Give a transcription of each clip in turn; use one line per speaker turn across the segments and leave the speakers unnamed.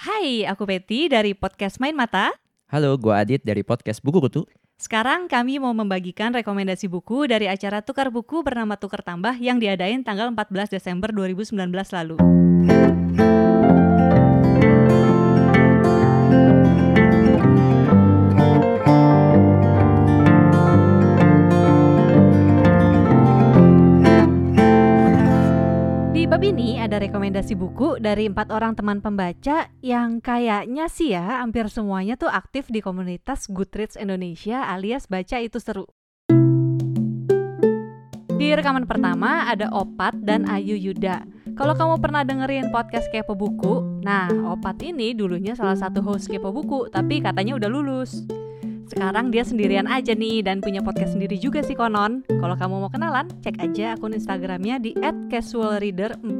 Hai, aku Peti dari podcast Main Mata.
Halo, gua Adit dari podcast Buku Kutu.
Sekarang kami mau membagikan rekomendasi buku dari acara tukar buku bernama Tukar Tambah yang diadain tanggal 14 Desember 2019 lalu. Di bab ini ada rekomendasi buku dari empat orang teman pembaca yang kayaknya sih ya hampir semuanya tuh aktif di komunitas Goodreads Indonesia alias baca itu seru. Di rekaman pertama ada Opat dan Ayu Yuda. Kalau kamu pernah dengerin podcast Kepo Buku, nah Opat ini dulunya salah satu host Kepo Buku, tapi katanya udah lulus. Sekarang dia sendirian aja nih dan punya podcast sendiri juga sih konon. Kalau kamu mau kenalan, cek aja akun Instagramnya di @casualreader4.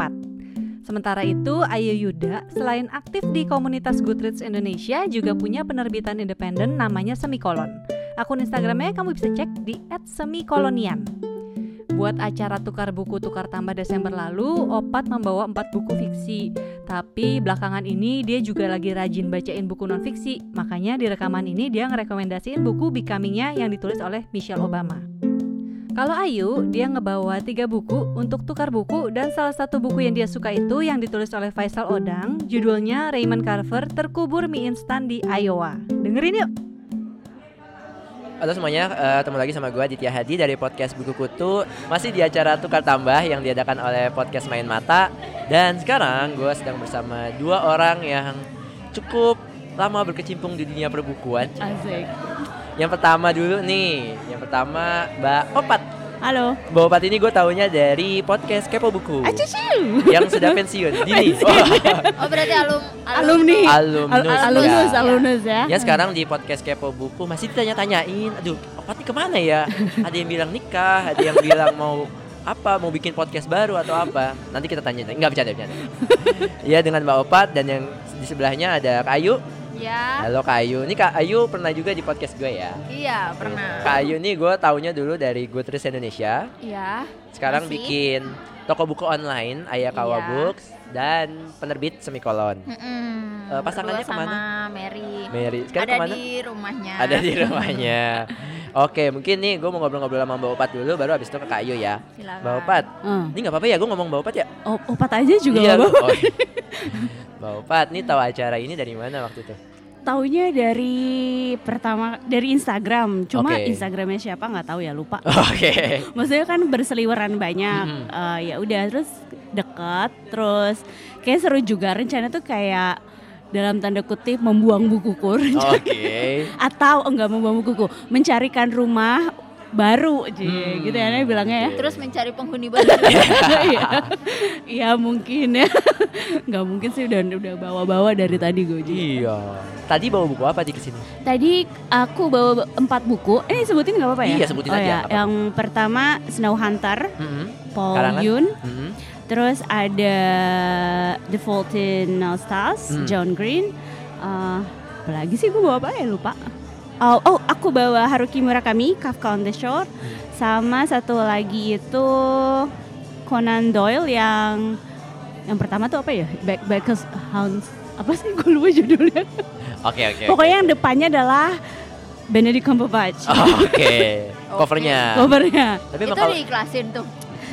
Sementara itu, Ayu Yuda selain aktif di komunitas Goodreads Indonesia juga punya penerbitan independen namanya Semikolon. Akun Instagramnya kamu bisa cek di @semikolonian. Buat acara tukar buku tukar tambah Desember lalu, Opat membawa empat buku fiksi. Tapi belakangan ini dia juga lagi rajin bacain buku nonfiksi. Makanya di rekaman ini dia ngerekomendasiin buku Becoming-nya yang ditulis oleh Michelle Obama. Kalau Ayu, dia ngebawa tiga buku untuk tukar buku dan salah satu buku yang dia suka itu yang ditulis oleh Faisal Odang, judulnya Raymond Carver Terkubur Mie Instan di Iowa. Dengerin yuk!
Halo semuanya, eh, ketemu lagi sama gua Ditya Hadi dari podcast Buku Kutu. Masih di acara Tukar Tambah yang diadakan oleh podcast Main Mata. Dan sekarang gua sedang bersama dua orang yang cukup lama berkecimpung di dunia perbukuan.
Asik.
Yang pertama dulu nih, yang pertama Mbak Opat.
Halo.
Mbak Opat ini gue taunya dari podcast Kepo Buku.
Acucu.
Yang sudah pensiun, Dini.
Oh berarti alum,
Alumni.
Alumnus.
Al- alumnus,
ya.
alumnus ya.
Ah.
Ya sekarang di podcast Kepo Buku masih ditanya-tanyain, aduh Opat nih kemana ya? Ada yang bilang nikah, ada yang bilang mau apa, mau bikin podcast baru atau apa. Nanti kita tanya, enggak bercanda, bercanda. ya dengan Mbak Opat dan yang di sebelahnya ada Kak Ayu.
Ya,
Halo Kak Ayu, ini Kak Ayu pernah juga di podcast gue ya.
iya pernah.
Kak Ayu nih gue taunya dulu dari Goodreads Indonesia.
Iya.
Sekarang
Masih.
bikin toko buku online Ayakawa
Iya. Hmm.
Books dan penerbit Semikolon.
Mm-mm.
Eh, pasangannya
Berdua
kemana?
Sama Mary.
Mary, sekarang
Ada
kemana?
di rumahnya.
ada di rumahnya. Oke, mungkin nih gue mau ngobrol-ngobrol sama Mbak Opat dulu, baru abis itu ke Kayu ya.
Silakan.
Mbak Opat,
Hmm.
ini nggak apa-apa ya gue ngomong Mbak Opat ya?
O- Opat aja juga
Iya,
nggak apa-apa.
oh, iya. Mbak Opat, nih tahu acara ini dari mana waktu itu?
Taunya dari pertama dari Instagram. Cuma
Oke.
Instagramnya siapa nggak tahu ya lupa.
Oke,
Maksudnya kan berseliweran banyak.
Mm-mm.
Eh, ya udah terus dekat terus kayak seru juga rencana tuh kayak dalam tanda kutip membuang bukuku
Oh. oke.
atau enggak membuang bukuku mencarikan rumah baru Ji.
Hmm,
gitu ya Naya bilangnya ya
oke.
Terus mencari penghuni baru.
Iya. Iya mungkin ya. Nggak mungkin sih udah udah bawa-bawa dari tadi gue juga.
Iya. Tadi bawa buku apa di kesini?
Tadi aku bawa empat buku. Eh sebutin nggak apa-apa ya?
Iya, sebutin aja, apa-apa.
Yang pertama Snow Hunter,
Mm-mm,
Paul
Karangan?
Yun.
mm-mm.
Terus ada The Fault in Our Stars,
Hmm.
John Green. Eh, apa lagi sih gue bawa apa ya lupa. Oh, oh, aku bawa Haruki Murakami, Kafka on the Shore,
Hmm.
sama satu lagi itu Conan Doyle yang yang pertama tuh apa ya? Back Backers Hounds. Apa sih gue lupa judulnya.
Oke, oke.
Pokoknya yang depannya adalah Benedict Cumberbatch.
Oh. Oke, covernya.
Covernya.
Tapi
itu
bakal
diiklasin tuh.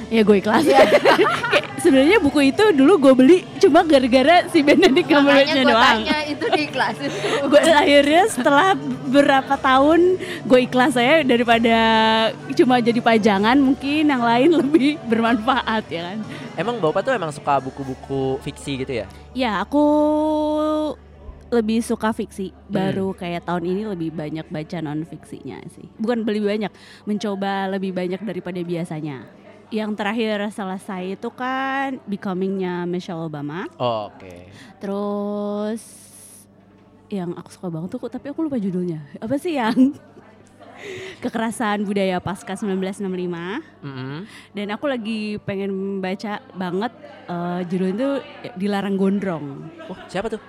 Ya gue ikhlas.
Iya.
Kayak Sebenarnya buku itu dulu gue beli cuma gara-gara si Benedict
Makanya
Cumberbatchnya
gua
doang.
tanya itu diiklasin tuh.
Gue akhirnya setelah berapa tahun gue ikhlas saya daripada cuma jadi pajangan mungkin yang lain lebih bermanfaat ya kan.
emang Mbak Opat tuh emang suka buku-buku fiksi gitu ya?
Ya aku lebih suka fiksi. Baru kayak tahun ini lebih banyak baca non fiksinya sih. Bukan lebih banyak, mencoba lebih banyak daripada biasanya. Yang terakhir selesai itu kan Becoming-nya Michelle Obama.
oke.
Terus yang aku suka banget tuh, tapi aku lupa judulnya. Apa sih yang kekerasan budaya pasca 1965?
Mm-mm.
Dan aku lagi pengen baca banget eh, judulnya tuh dilarang gondrong.
Oh, siapa tuh?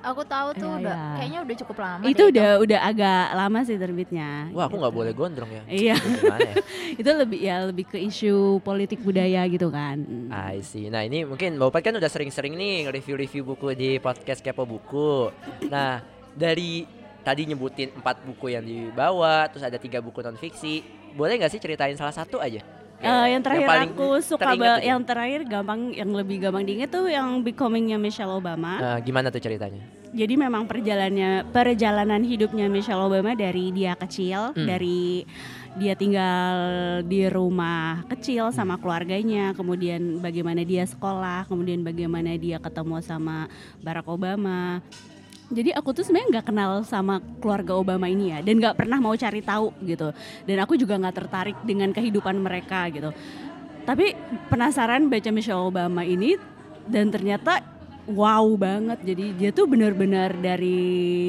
Aku tahu tuh
Iya,
udah
iya.
kayaknya udah cukup lama.
itu
deh
udah udah agak lama sih terbitnya.
Wah, aku nggak
gitu.
boleh gondrong ya.
Iya,
Gimana ya?
itu lebih ya lebih ke isu politik budaya gitu kan. Mm.
I see. Nah ini mungkin Mbak Upat kan udah sering-sering nih review-review buku di podcast Kepo Buku. Nah dari tadi nyebutin empat buku yang dibawa, terus ada tiga buku non fiksi. Boleh nggak sih ceritain salah satu aja?
Eh, yang terakhir
iya. paling
aku suka
teringat
ba-
gitu.
yang terakhir gampang yang lebih gampang diinget tuh yang becomingnya Michelle Obama.
Eh, gimana tuh ceritanya?
Jadi memang perjalannya perjalanan hidupnya Michelle Obama dari dia kecil,
Hmm.
dari dia tinggal di rumah kecil sama keluarganya, kemudian bagaimana dia sekolah, kemudian bagaimana dia ketemu sama Barack Obama. Jadi aku tuh sebenarnya nggak kenal sama keluarga Obama ini ya, dan nggak pernah mau cari tahu gitu. Dan aku juga nggak tertarik dengan kehidupan mereka gitu. Tapi penasaran baca Michelle Obama ini, dan ternyata wow banget. Jadi dia tuh benar-benar dari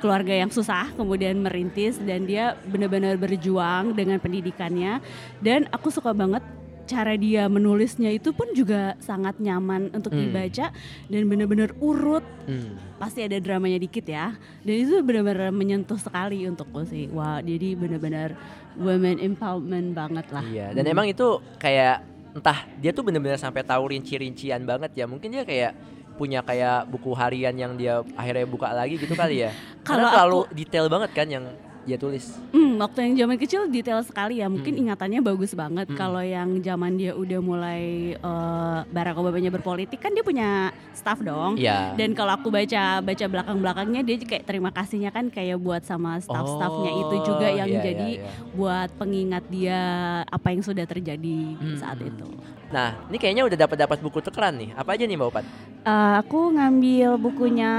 keluarga yang susah, kemudian merintis dan dia benar-benar berjuang dengan pendidikannya. Dan aku suka banget cara dia menulisnya itu pun juga sangat nyaman untuk
Hmm.
dibaca dan benar-benar urut
Hmm.
pasti ada dramanya dikit ya dan itu benar-benar menyentuh sekali untukku sih wah jadi benar-benar women empowerment banget lah
Iya. Dan
Hmm.
emang itu kayak entah dia tuh bener-bener sampai tahu rinci-rincian banget ya. Mungkin dia kayak punya kayak buku harian yang dia akhirnya buka lagi gitu kali ya. Karena
Kalau
terlalu detail banget kan yang dia tulis.
Hmm, waktu yang zaman kecil detail sekali ya mungkin
Hmm.
ingatannya bagus banget
Hmm.
kalau yang zaman dia udah mulai eh, Barack Obama berpolitik kan dia punya staff dong
Iya.
Dan kalau aku baca baca belakang belakangnya dia kayak terima kasihnya kan kayak buat sama staff-staffnya itu juga
Oh,
yang
iya, iya,
jadi
iya.
buat pengingat dia apa yang sudah terjadi
Hmm.
saat itu.
Nah, ini kayaknya udah dapat dapat buku tukeran nih. Apa aja nih Mbak Upat?
Eh, aku ngambil bukunya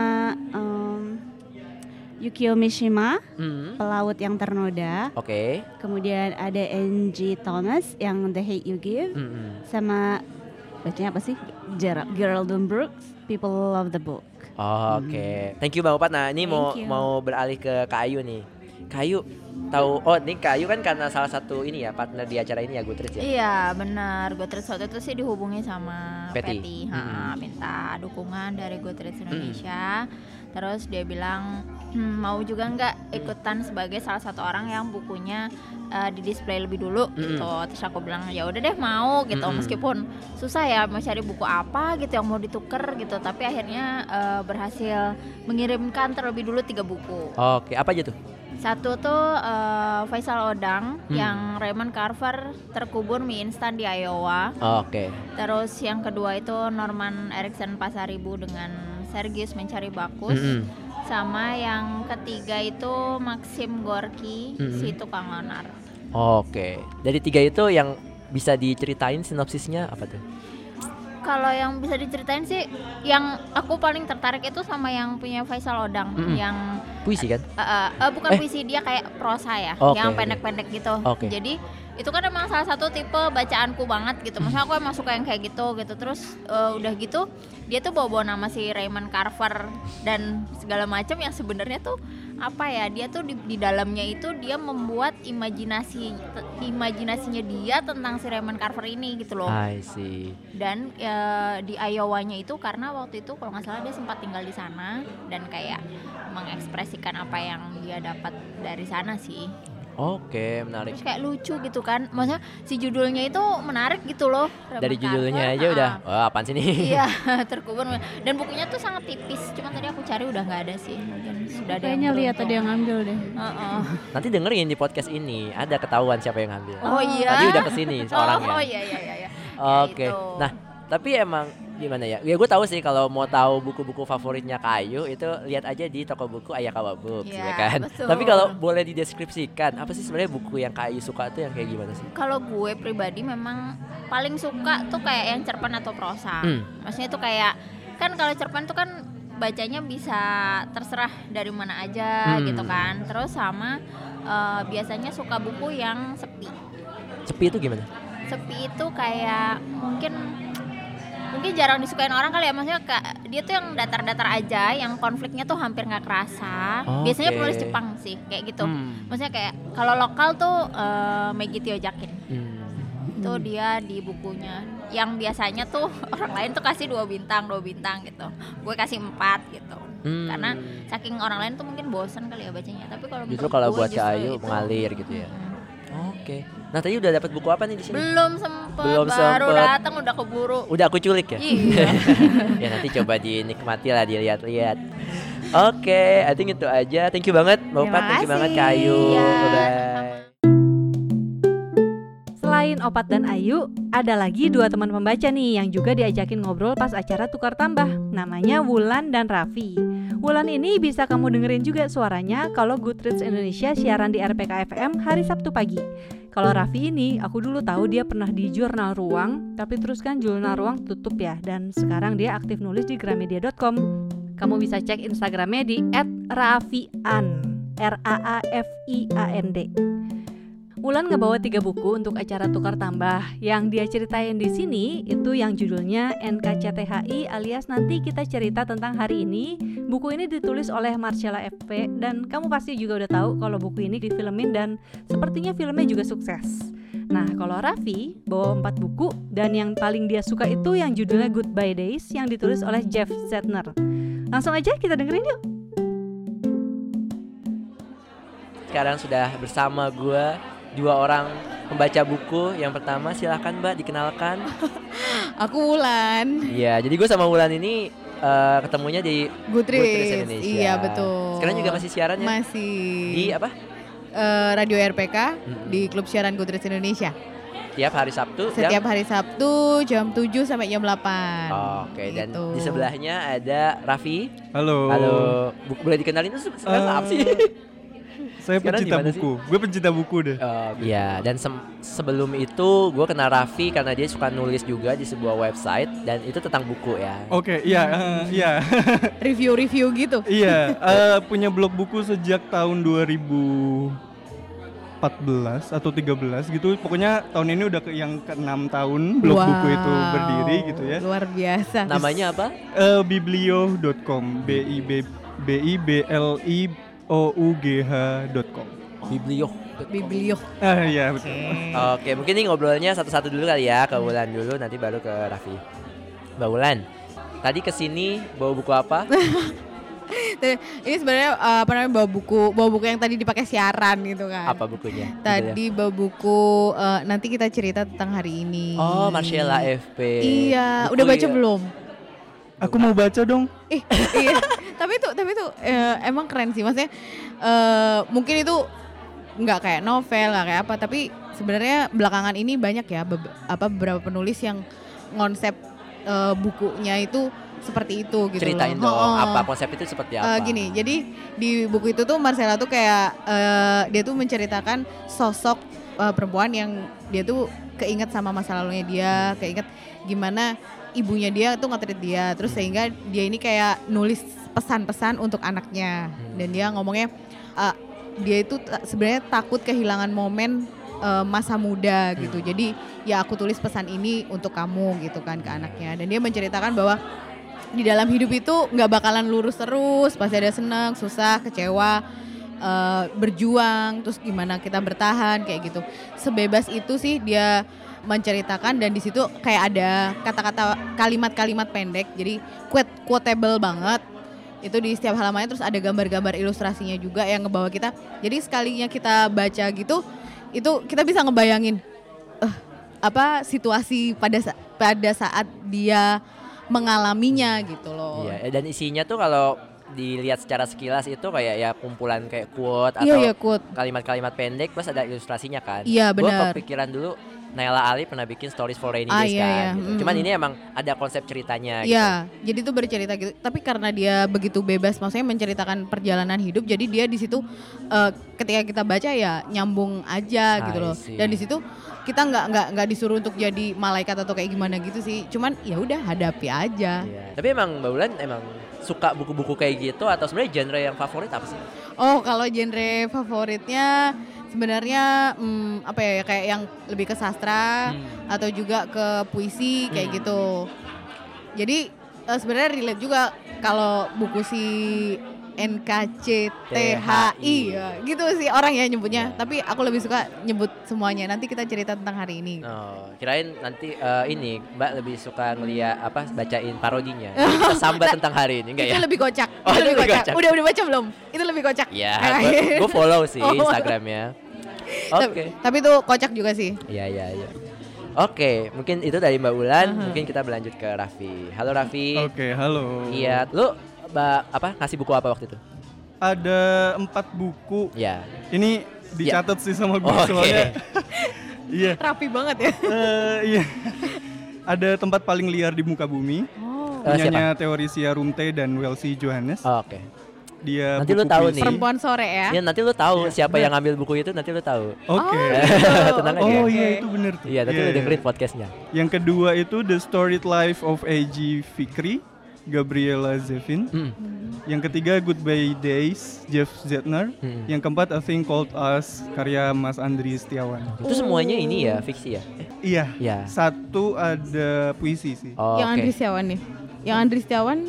em, Yukio Mishima,
Hmm.
Pelaut yang Ternoda.
Oke.
Kemudian ada N.G. Thomas yang The Hate You Give,
Mm-mm.
sama bacanya apa sih? Ger- Geraldine Brooks, People Love the Book.
Oke. Thank you Mbak Upat. Nah, ini mau
Thank you.
mau beralih ke Kayu nih. Kayu tahu oh ini Kayu kan karena salah satu ini ya partner di acara ini ya Goodreads ya.
Iya benar, Goodreads waktu itu sih dihubungi sama
Patty.
Patty, Ha,
Mm-mm.
minta dukungan dari Goodreads Indonesia. Terus dia bilang "Hmm, mau juga nggak ikutan sebagai salah satu orang yang bukunya eh, di display lebih dulu
Mm-mm.
gitu. Terus aku bilang ya udah deh mau gitu,
Mm-mm.
meskipun susah ya mau cari buku apa gitu yang mau dituker gitu. Tapi akhirnya eh, berhasil mengirimkan terlebih dulu tiga buku.
Oke, apa aja tuh?
Satu tuh eh, Faisal Odang
Hmm.
yang Raymond Carver terkubur mie instan di Iowa.
Oke.
Terus yang kedua itu Norman Erickson Pasaribu dengan Sergius mencari bakus.
Mm-mm.
Sama yang ketiga itu Maxim Gorky
Hmm.
si tukang onar.
Oke. Dari tiga itu yang bisa diceritain sinopsisnya apa tuh?
Kalau yang bisa diceritain sih yang aku paling tertarik itu sama yang punya Faisal Odang
Hmm.
yang
Puisi kan?
Eh, eh, eh, bukan
Eh.
puisi dia kayak prosa ya,
Oke,
yang
oke.
pendek-pendek gitu.
Oke.
Jadi itu kan emang salah satu tipe bacaanku banget
Hmm.
gitu. Maksudnya aku emang suka yang kayak gitu gitu. Terus eh, udah gitu dia tuh bawa-bawa nama si Raymond Carver dan segala macam yang sebenarnya tuh apa ya dia tuh di, di dalamnya itu dia membuat imajinasi te- imajinasinya dia tentang si Raymond Carver ini gitu loh
I see.
dan ya, di Iowa-nya itu karena waktu itu kalau nggak salah dia sempat tinggal di sana dan kayak mengekspresikan apa yang dia dapat dari sana sih
Oke, menarik.
terus kayak lucu gitu kan maksudnya si judulnya itu menarik gitu loh
Dari
Raymond
judulnya
Carver,
aja
ah.
udah. Wah, apaan sih ini?
iya terkubur dan bukunya tuh sangat tipis cuma tadi aku cari udah nggak ada sih mungkin sudah ada
Kayaknya lihat ya. ada yang ngambil deh.
oh,
Nanti dengerin di podcast ini, ada ketahuan siapa yang ngambil.
oh iya
Tadi udah kesini
oh,
seorangnya.
oh iya iya iya, iya
Oke.
gitu.
Nah, tapi emang gimana ya? Ya gue tahu sih kalau mau tahu buku-buku favoritnya Kayu itu lihat aja di toko buku Ayakawa Books ya
Iya,
kan.
betul.
Tapi kalau boleh dideskripsikan, apa sih sebenarnya buku yang Kayu suka tuh yang kayak gimana sih?
kalau gue pribadi memang paling suka tuh kayak yang cerpen atau prosa
Hmm.
maksudnya tuh kayak kan kalau cerpen tuh kan bacanya bisa terserah dari mana aja
Hmm.
gitu kan terus sama eh, biasanya suka buku yang sepi
Sepi itu gimana?
sepi itu kayak mungkin mungkin jarang disukain orang kali ya maksudnya ka- dia tuh yang datar-datar aja yang konfliknya tuh hampir nggak kerasa biasanya
Oke.
penulis Jepang sih kayak gitu
Hmm.
maksudnya kayak kalau lokal tuh eh, Meggy Tio Jakin
Hmm.
itu dia di bukunya yang biasanya tuh orang lain tuh kasih dua bintang dua bintang gitu gue kasih empat gitu
Hmm.
karena saking orang lain tuh mungkin bosen kali ya bacanya tapi kalau
justru
menurut
kalau
gue
buat
justru
Cahayu
itu-
mengalir gitu ya.
Mm.
Oke. Nah tadi udah dapat buku apa nih di sini?
belum sempet
Belum
baru
sempet.
datang udah keburu
Udah aku culik ya.
Iya.
ya nanti coba dinikmati lah dilihat-lihat. Oke, I think itu aja. Thank you banget, Mbak
Terima
Opat. Thank you
kasih.
banget, Kayu.
Iya,
Bye.
Selain Opat dan Ayu, ada lagi dua teman pembaca nih yang juga diajakin ngobrol pas acara tukar tambah. Namanya Wulan dan Raffi. Wulan ini bisa kamu dengerin juga suaranya kalau Goodreads Indonesia siaran di RPK FM hari Sabtu pagi. Kalau Raffi ini, aku dulu tahu dia pernah di Jurnal Ruang, tapi terus kan Jurnal Ruang tutup ya, dan sekarang dia aktif nulis di gramedia.com. Kamu bisa cek Instagramnya di @rafian. R A A F I A N D. Wulan ngebawa tiga buku untuk acara tukar tambah. Yang dia ceritain di sini itu yang judulnya NKCTHI alias nanti kita cerita tentang hari ini. Buku ini ditulis oleh Marcella FP dan kamu pasti juga udah tahu kalau buku ini difilmin dan sepertinya filmnya juga sukses. Nah, kalau Raffi bawa empat buku dan yang paling dia suka itu yang judulnya Goodbye Days yang ditulis oleh Jeff Zettner. Langsung aja kita dengerin yuk.
Sekarang sudah bersama gua dua orang pembaca buku. Yang pertama silahkan Mbak dikenalkan.
Aku Wulan,
Iya, jadi gue sama Wulan ini eh, ketemunya di Goodreads
Gutris.
Indonesia.
Iya betul.
Sekarang juga masih siaran ya?
masih
Di apa?
eh, radio RPK
Mm-mm.
di klub siaran Gutris Indonesia.
Tiap hari Sabtu. jam-
Setiap hari Sabtu jam 7 sampai jam 8.
Oke, dan
Gitu.
di sebelahnya ada Raffi.
Halo.
Halo, Bu- boleh dikenalin tuh se- sebenarnya
Eh,
apa sih?
Saya
Sekarang
pencinta
di mana sih?
buku. Gue pencinta buku deh.
Oh, Iya, dan sem- sebelum itu gue kenal Raffi karena dia suka nulis juga di sebuah website dan itu tentang buku ya.
Oke, iya, eh, iya,
Review-review gitu.
iya. Eh, punya blog buku sejak tahun 2014 atau 13 gitu. Pokoknya tahun ini udah ke yang keenam tahun blog
Wow,
buku itu berdiri gitu ya.
Luar biasa.
Namanya apa?
Eh, biblio.com, b i b b i b l i o u g h.com.
Biblio.
Biblio.
Ah iya betul.
Oke, mungkin ini ngobrolnya satu-satu dulu kali ya ke Wulan dulu, nanti baru ke Raffi. Mbak Wulan, tadi kesini bawa buku apa?
Ini sebenarnya eh, apa namanya bawa buku, bawa buku yang tadi dipakai siaran gitu kan.
Apa ya? bukunya?
Tadi bawa buku eh, nanti kita cerita tentang hari ini.
Oh, Marcella FP. Buku
Iya, udah baca
ya.
belum?
Aku mau baca dong.
Ih, iya. tapi itu tapi itu eh, emang keren sih maksudnya eh, mungkin itu nggak kayak novel nggak kayak apa tapi sebenarnya belakangan ini banyak ya bebe- apa beberapa penulis yang konsep bukunya itu seperti itu gitu
Ceritain
loh.
dong,
Ho-ho.
apa konsep itu seperti
Eh,
Iya, apa?
gini, jadi di buku itu tuh Marcella tuh kayak eh, dia tuh menceritakan sosok eh, perempuan yang dia tuh keinget sama masa lalunya dia, keinget gimana ibunya dia tuh ngetrit dia,
Hmm.
terus sehingga dia ini kayak nulis pesan-pesan untuk anaknya
Hmm.
dan dia ngomongnya eh, dia itu ta- sebenarnya takut kehilangan momen eh, masa muda gitu. Jadi ya aku tulis pesan ini untuk kamu gitu kan ke anaknya dan dia menceritakan bahwa di dalam hidup itu nggak bakalan lurus terus pasti ada senang susah kecewa eh, berjuang terus gimana kita bertahan kayak gitu sebebas itu sih dia menceritakan dan di situ kayak ada kata-kata kalimat-kalimat pendek jadi quote quotable banget itu di setiap halamannya terus ada gambar-gambar ilustrasinya juga yang ngebawa kita jadi sekalinya kita baca gitu itu kita bisa ngebayangin eh, apa situasi pada sa- pada saat dia mengalaminya gitu loh
Iya, dan isinya tuh kalau dilihat secara sekilas itu kayak ya kumpulan kayak quote
Iya
atau
iya quote.
kalimat-kalimat pendek plus ada ilustrasinya kan.
Iya
Gua
benar.
kepikiran dulu Naila Ali pernah bikin stories for rainy
Ah,
days
iya,
kan.
iya.
gitu.
Mm.
Cuman ini emang ada konsep ceritanya
Iya, jadi tuh bercerita gitu. Tapi karena dia begitu bebas, maksudnya menceritakan perjalanan hidup, jadi dia di situ eh, ketika kita baca ya nyambung aja gitu
I
loh.
see.
Dan di situ kita nggak nggak nggak disuruh untuk jadi malaikat atau kayak gimana gitu sih. Cuman ya udah hadapi aja.
gitu. Iya. Tapi emang Mbak Wulan emang suka buku-buku kayak gitu atau sebenarnya genre yang favorit apa sih?
Oh, kalau genre favoritnya sebenarnya hmm, apa ya kayak yang lebih ke sastra atau juga ke puisi kayak
Hmm.
gitu. Jadi eh, sebenarnya relate juga kalau buku si NKCTHI ya, gitu sih orang ya
Iya.
nyebutnya tapi aku lebih suka nyebut semuanya nanti kita cerita tentang hari ini
Oh, kirain nanti eh, ini Mbak lebih suka ngeliat apa bacain parodinya. Jadi Kita sambat tentang hari ini enggak
itu
ya?
lebih kocak
Oh,
itu
itu
lebih
lebih
kocak.
kocak.
udah udah baca belum itu lebih kocak
Ya,
Nah,
gue follow sih
Oh.
Instagramnya. Oke.
tapi, tapi itu kocak juga sih
Iya iya iya. Oke, mungkin itu dari Mbak Ulan. Mungkin kita berlanjut ke Raffi. Halo Raffi.
Oke, halo.
Iya, lu ba- apa ngasih buku apa waktu itu?
Ada empat buku.
Iya.
Ini dicatat sih sama gue
Oke.
soalnya. Iya.
rapi banget ya
eh, iya. Ada tempat paling liar di muka bumi.
Eh, siapa?
Oh. Punyanya Teorisia Rumte dan Welsi Johannes.
Oh, Oke.
Dia
Nanti lu
buku
tahu
puisi.
nih.
perempuan sore ya
Ya nanti lu tahu siapa yang ngambil buku itu nanti lu tahu.
Oke.
Tenang aja.
Iya,
ya.
Oh iya itu bener tuh.
Oh. Iya, nanti
Iya,
lu
iya.
dengerin podcastnya.
Yang kedua itu The Storied Life of A.G. Fikri, Gabriela Zevin.
Hmm.
Yang ketiga Goodbye Days, Jeff Zettner.
Hmm.
Yang keempat A Thing Called Us, karya Mas Andri Setiawan.
Itu semuanya ini ya fiksi ya? Eh,
Iya.
Iya.
Satu ada puisi sih.
Oh,
yang Andri
Oke.
Setiawan nih yang Andri Setiawan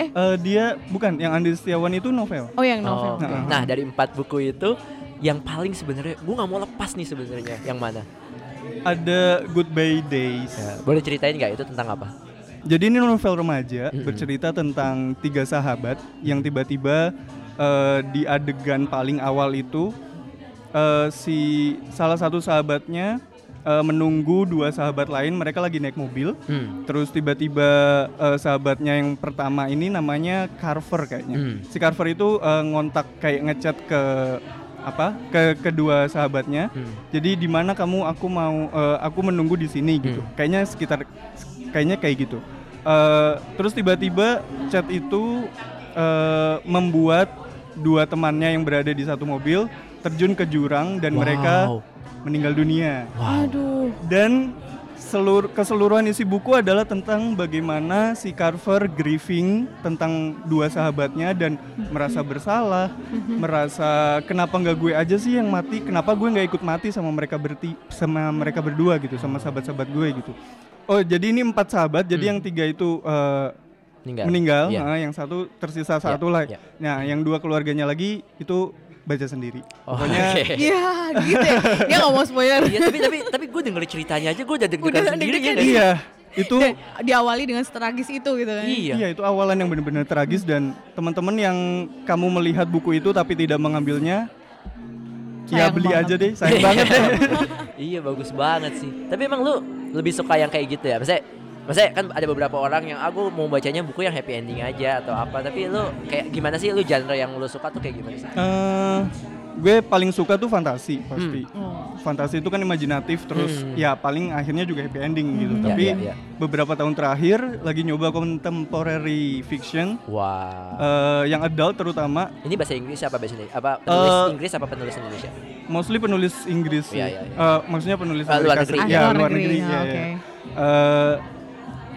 eh
Eh, dia bukan yang Andri Setiawan itu novel.
oh yang
Oh,
novel
oke. Nah, dari empat buku itu yang paling sebenarnya gue nggak mau lepas nih sebenarnya yang mana?
Ada Goodbye Days.
Ya, boleh ceritain nggak itu tentang apa?
Jadi ini novel remaja
Mm-mm.
bercerita tentang tiga sahabat yang tiba-tiba eh, di adegan paling awal itu eh, si salah satu sahabatnya eh, menunggu dua sahabat lain mereka lagi naik mobil
Hmm.
terus tiba-tiba eh, sahabatnya yang pertama ini namanya Carver kayaknya.
Hmm.
Si Carver itu eh, ngontak kayak ngechat ke apa ke kedua sahabatnya
Hmm.
jadi di mana kamu aku mau eh, aku menunggu di sini gitu. Kayaknya sekitar kayaknya kayak gitu. Eh, terus tiba-tiba chat itu eh, membuat dua temannya yang berada di satu mobil terjun ke jurang dan mereka
Wow.
meninggal dunia.
Wow.
aduh
Dan seluruh keseluruhan isi buku adalah tentang bagaimana si Carver grieving tentang dua sahabatnya dan merasa bersalah, merasa kenapa nggak gue aja sih yang mati, kenapa gue nggak ikut mati sama mereka berti sama mereka berdua gitu, sama sahabat-sahabat gue gitu. Oh jadi ini empat sahabat, jadi yang tiga itu eh,
Meninggal.
meninggal,
Iya.
nah, yang satu tersisa
Iya,
satu lah.
iya.
Nah yang dua keluarganya lagi itu baca sendiri.
Oh,
Pokoknya
oke.
Iya, gitu ya. Dia nggak mau spoiler.
Iya, tapi tapi tapi gue denger ceritanya aja gue udah deg-degan
Udah
sendiri
deg-degan
ya.
iya itu
Dan diawali dengan setragis itu gitu kan.
Oh. Iya.
Iya, itu awalan yang benar-benar tragis dan teman-teman yang kamu melihat buku itu tapi tidak mengambilnya, ya
Sayang
beli
banget.
aja deh, sayang banget.
iya, bagus banget sih. Tapi emang lu lebih suka yang kayak gitu ya? Maksudnya Maksudnya kan ada beberapa orang yang aku mau bacanya buku yang happy ending aja atau apa Tapi lu kayak gimana sih lu genre yang lu suka tuh kayak gimana sih?
Eh, gue paling suka tuh fantasi pasti.
Oh.
Fantasi itu kan imajinatif terus
Hmm.
ya paling akhirnya juga happy ending gitu.
Iya,
Tapi
iya, iya.
beberapa tahun terakhir lagi nyoba contemporary fiction
Wah
eh, yang adult terutama,
Ini bahasa Inggris apa bahasa Indonesia? Apa penulis
Eh,
Inggris apa penulis Indonesia?
mostly penulis Inggris sih.
Iya, iya, iya.
Eh, maksudnya penulis
Ah, luar
Amerika
negeri.
Serikat.
Ah,
Ya,
luar negeri.
iya,
Ah,
iya.
oke.
eh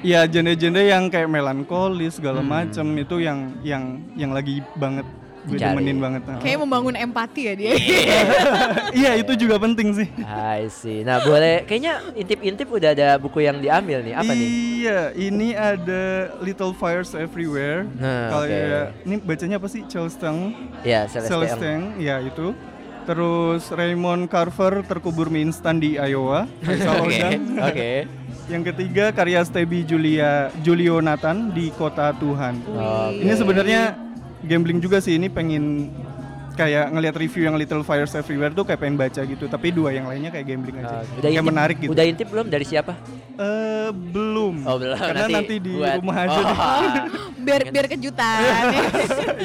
ya genre-genre yang kayak melankolis segala
Hmm.
macem itu yang yang yang lagi banget gue
Dicari.
demenin banget nah.
Kayaknya membangun empati ya dia.
iya itu juga penting sih
I see. Nah boleh, kayaknya intip-intip udah ada buku yang diambil nih. Apa nih?
iya ini ada Little Fires Everywhere
Nah,
kalau
oke.
ya- ini bacanya apa sih Chelstang
Ya, Celeste. Ng.
Celestang ya itu terus Raymond Carver terkubur mie instan di Iowa Faisal
Oke,
Odang.
oke.
yang ketiga karya Stebi Julia Julio Nathan di Kota Tuhan
Oke.
Ini sebenarnya gambling juga sih ini pengen kayak ngelihat review yang Little Fires Everywhere tuh kayak pengen baca gitu tapi dua yang lainnya kayak gambling aja
Oke.
kayak menarik gitu
Udah intip belum dari siapa?
Eh, belum
Oh belum.
karena nanti, di
buat-
rumah aja
Oh,
deh.
biar biar kejutan.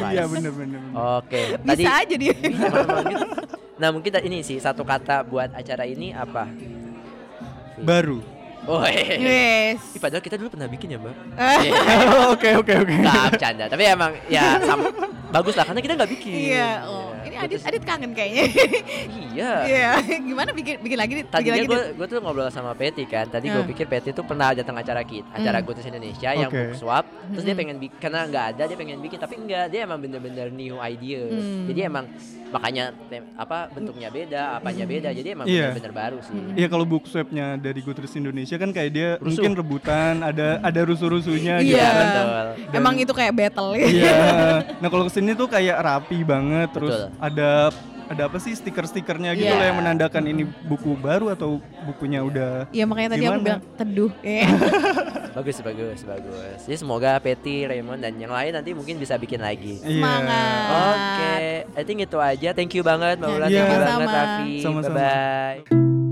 iya bener-bener
Oke. Tadi.
Bisa aja dia.
teman-teman gitu. Nah mungkin ta- ini sih satu kata buat acara ini apa?
baru
Oh, eh.
Yes.
Ih, padahal kita dulu pernah bikin ya mbak.
oke oke oke Nah.
Nggak bercanda. Tapi emang ya sam- bagus lah karena kita nggak bikin.
Iya, oh. Ini Adit, Adit kangen kayaknya.
Iya.
Iya, gimana bikin bikin lagi Dit? bikin
Tadinya
lagi
gue
Dit.
gue tuh ngobrol sama Peti kan. Tadi gue
Hmm.
pikir Peti tuh pernah datang acara kita, acara
Hmm.
Goodness Indonesia yang
Oke.
book swap. Terus dia
Hmm.
pengen bikin karena nggak ada dia pengen bikin tapi enggak dia emang bener-bener new idea.
Hmm.
Jadi emang makanya tem- apa bentuknya beda, apanya beda. Jadi emang
Iya.
bener-bener baru sih.
Hmm.
Iya kalau book swapnya dari Goodreads Indonesia kan kayak dia
Rusuh.
mungkin rebutan, ada ada rusuh-rusuhnya gitu
Iya.
kan.
Betul.
Dan-
Emang itu kayak battle gitu.
Iya. nah kalau kesini tuh kayak rapi banget, terus
Betul.
ada ada apa sih stiker-stikernya gitu
Iya.
loh yang menandakan ini buku baru atau bukunya udah.
Iya makanya tadi aku
Gimana?
bilang teduh. Iya.
Bagus bagus bagus. Jadi semoga Peti, Raymond dan yang lain nanti mungkin bisa bikin lagi.
Iya.
Semangat.
Oke, I think itu aja. Thank you banget Mbak Ulan,
Iya.
thank you banget
Sama-sama.
Raffi.
Sama-sama.
Bye-bye.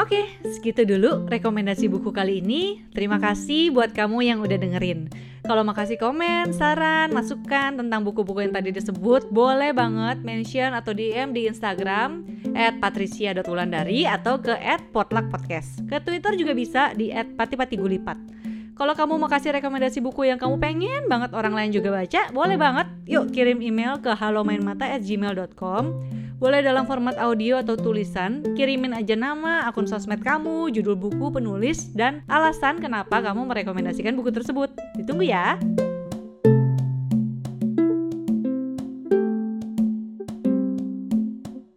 Oke, segitu dulu rekomendasi buku kali ini. Terima kasih buat kamu yang udah dengerin. Kalau mau kasih komen, saran, masukan tentang buku-buku yang tadi disebut, boleh banget mention atau DM di Instagram @patricia.ulandari atau ke @potluckpodcast. Ke Twitter juga bisa di @patipatigulipat. Kalau kamu mau kasih rekomendasi buku yang kamu pengen banget orang lain juga baca, boleh banget. Yuk kirim email ke halomainmata@gmail.com boleh dalam format audio atau tulisan, kirimin aja nama, akun sosmed kamu, judul buku, penulis, dan alasan kenapa kamu merekomendasikan buku tersebut. Ditunggu ya!